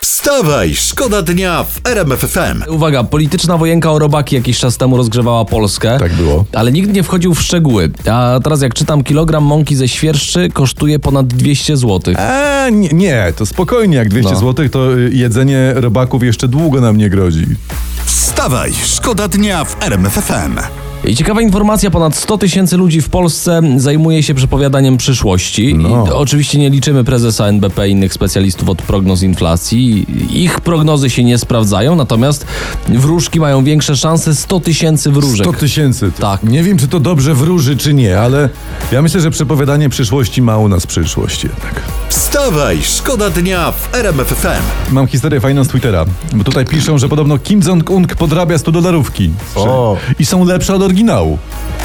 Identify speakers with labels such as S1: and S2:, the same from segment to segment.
S1: Wstawaj, szkoda dnia w RMFFM.
S2: Uwaga, polityczna wojenka o robaki jakiś czas temu rozgrzewała Polskę.
S3: Tak było.
S2: Ale nikt nie wchodził w szczegóły. A teraz jak czytam, kilogram mąki ze świerszczy kosztuje ponad 200 zł.
S3: A nie, nie, to spokojnie, jak 200
S2: No.
S3: zł, to y, jedzenie robaków jeszcze długo nam nie grozi.
S1: Wstawaj, szkoda dnia w RMFFM.
S2: I ciekawa informacja, ponad 100 tysięcy ludzi w Polsce zajmuje się przepowiadaniem przyszłości.
S3: No.
S2: I to oczywiście nie liczymy prezesa NBP i innych specjalistów od prognoz inflacji. Ich prognozy się nie sprawdzają, natomiast wróżki mają większe szanse 100 tysięcy wróżek.
S3: 100 tysięcy. to-
S2: Tak.
S3: Nie wiem, czy to dobrze wróży, czy nie, ale ja myślę, że przepowiadanie przyszłości ma u nas przyszłość jednak.
S1: Wstawaj, szkoda dnia w RMFFM.
S3: Mam historię fajną z Twittera, bo tutaj piszą, że podobno Kim Jong-un podrabia 100 dolarówki.
S2: O.
S3: I są lepsze od oryginału.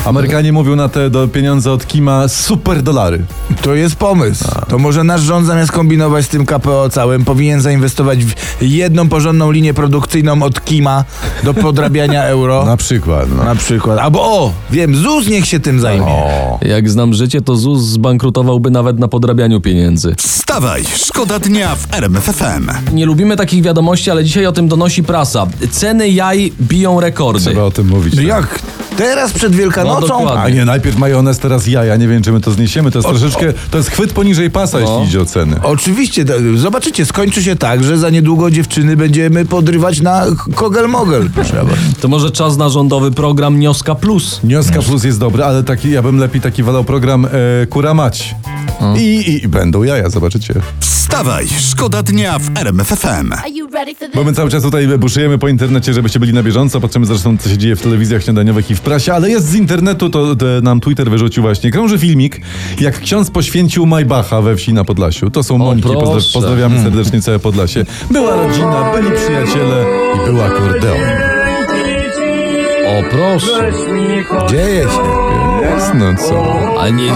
S3: Amerykanie mówią na te do pieniądze od Kima super dolary.
S4: To jest pomysł. To może nasz rząd zamiast kombinować z tym KPO całym, powinien zainwestować w jedną porządną linię produkcyjną od Kima do podrabiania euro.
S3: Na
S4: Na,
S3: przykład. No.
S4: przykład. Albo o, wiem, ZUS niech się tym zajmie.
S3: O.
S2: Jak znam życie, to ZUS zbankrutowałby nawet na podrabianiu pieniędzy.
S1: Wstawaj, szkoda dnia w RMFFM.
S2: Nie lubimy takich wiadomości, ale dzisiaj o tym donosi prasa. Ceny jaj biją rekordy.
S3: Trzeba o tym mówić.
S4: No
S3: tak.
S4: Jak? Teraz przed
S2: No,
S4: Wielkanocą?
S2: dokładnie.
S3: A nie, najpierw majonez, teraz jaja. Nie wiem, czy my to zniesiemy. To jest troszeczkę, to jest chwyt poniżej pasa, jeśli idzie No. o ceny.
S4: Oczywiście, to- zobaczycie, skończy się tak, że za niedługo dziewczyny będziemy podrywać na kogel-mogel, proszę was.
S2: To może czas na rządowy program Nioska Plus.
S3: Nioska Plus jest dobry, ale taki, ja bym lepiej taki wolał program e, Kura Mać. I, i, I będą jaja, zobaczycie.
S1: Wstawaj, szkoda dnia w RMFFM.
S5: Are you ready for this?
S3: Bo my cały czas tutaj buszujemy po internecie, żebyście byli na bieżąco. Patrzymy zresztą, co się dzieje w telewizjach śniadaniowych i w prasie, ale jest z internetu, to, to nam Twitter wyrzucił właśnie. Krąży filmik, jak ksiądz poświęcił Majbacha we wsi na Podlasiu. To są Moniki,
S2: proszę.
S3: Pozdro- pozdrawiamy serdecznie całe Podlasie. Była rodzina, byli przyjaciele i był akordeon.
S2: O proszę.
S4: Dzieje się.
S3: Jest, no co?
S2: Ale nie,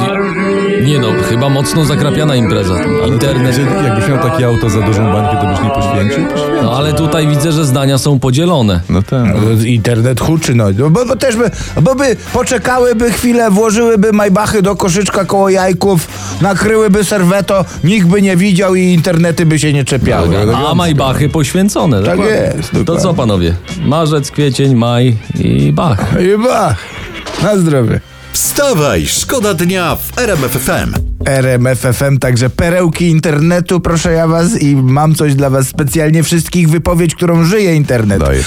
S2: nie no, chyba mocno zakrapiana impreza. Internet.
S3: Jeżeli- Jakbyś miał takie auto za dużą bańkę, to byś nie poświęcił? Poświęcił.
S2: No ale tutaj widzę, że zdania są podzielone.
S3: No tak.
S4: Internet huczy, no. No Bo, bo też by, bo by poczekałyby chwilę, włożyłyby majbachy do koszyczka koło jajków, nakryłyby serweto, nikt by nie widział i internety by się nie czepiały. No
S2: A majbachy poświęcone.
S4: Tak
S2: dokładnie.
S4: jest,
S2: To
S4: dokładnie.
S2: co panowie? Marzec, kwiecień, maj i bach.
S4: I bach, na zdrowie.
S1: Wstawaj, szkoda dnia w RMFFM.
S4: RMFFM, także perełki internetu, proszę ja was i mam coś dla was specjalnie wszystkich, wypowiedź, którą żyje internet.
S3: Dajesz.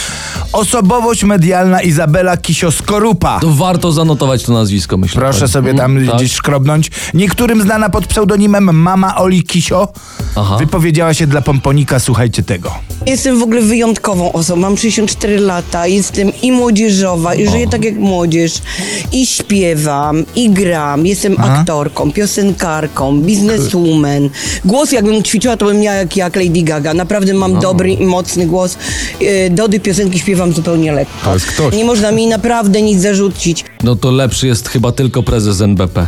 S4: Osobowość medialna Izabela Kisio-Skorupa.
S2: To warto zanotować to nazwisko, myślę.
S4: Proszę
S2: Tak.
S4: sobie tam
S2: Mm, tak.
S4: gdzieś szkrobnąć. Niektórym znana pod pseudonimem Mama Oli Kisio
S2: Aha.
S4: wypowiedziała się dla pomponika, słuchajcie tego.
S6: Jestem w ogóle wyjątkową osobą. Mam 64 lata, jestem i młodzieżowa,
S3: No.
S6: i żyję tak jak młodzież. I śpiewam, i gram. Jestem aktorką, piosenkarką, bizneswoman. Głos, jakbym ćwiczyła, to bym miała jak, jak Lady Gaga. Naprawdę mam
S3: No.
S6: dobry i mocny głos. Yy, Dody piosenki śpiewam zupełnie lekko.
S3: To jest ktoś.
S6: Nie można mi naprawdę nic zarzucić.
S2: No to lepszy jest chyba tylko prezes NBP.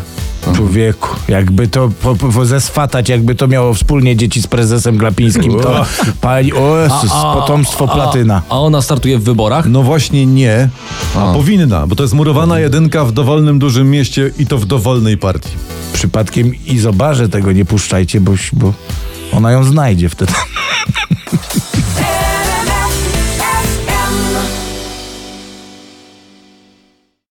S4: Człowieku, jakby to po, po, zeswatać, jakby to miało wspólnie dzieci z prezesem Glapińskim, to pani, o Jezus, potomstwo platyna.
S2: A ona startuje w wyborach?
S3: No właśnie nie, a powinna, bo to jest murowana jedynka w dowolnym dużym mieście i to w dowolnej partii.
S4: Przypadkiem i zobaczę tego nie puszczajcie, bo, bo ona ją znajdzie wtedy.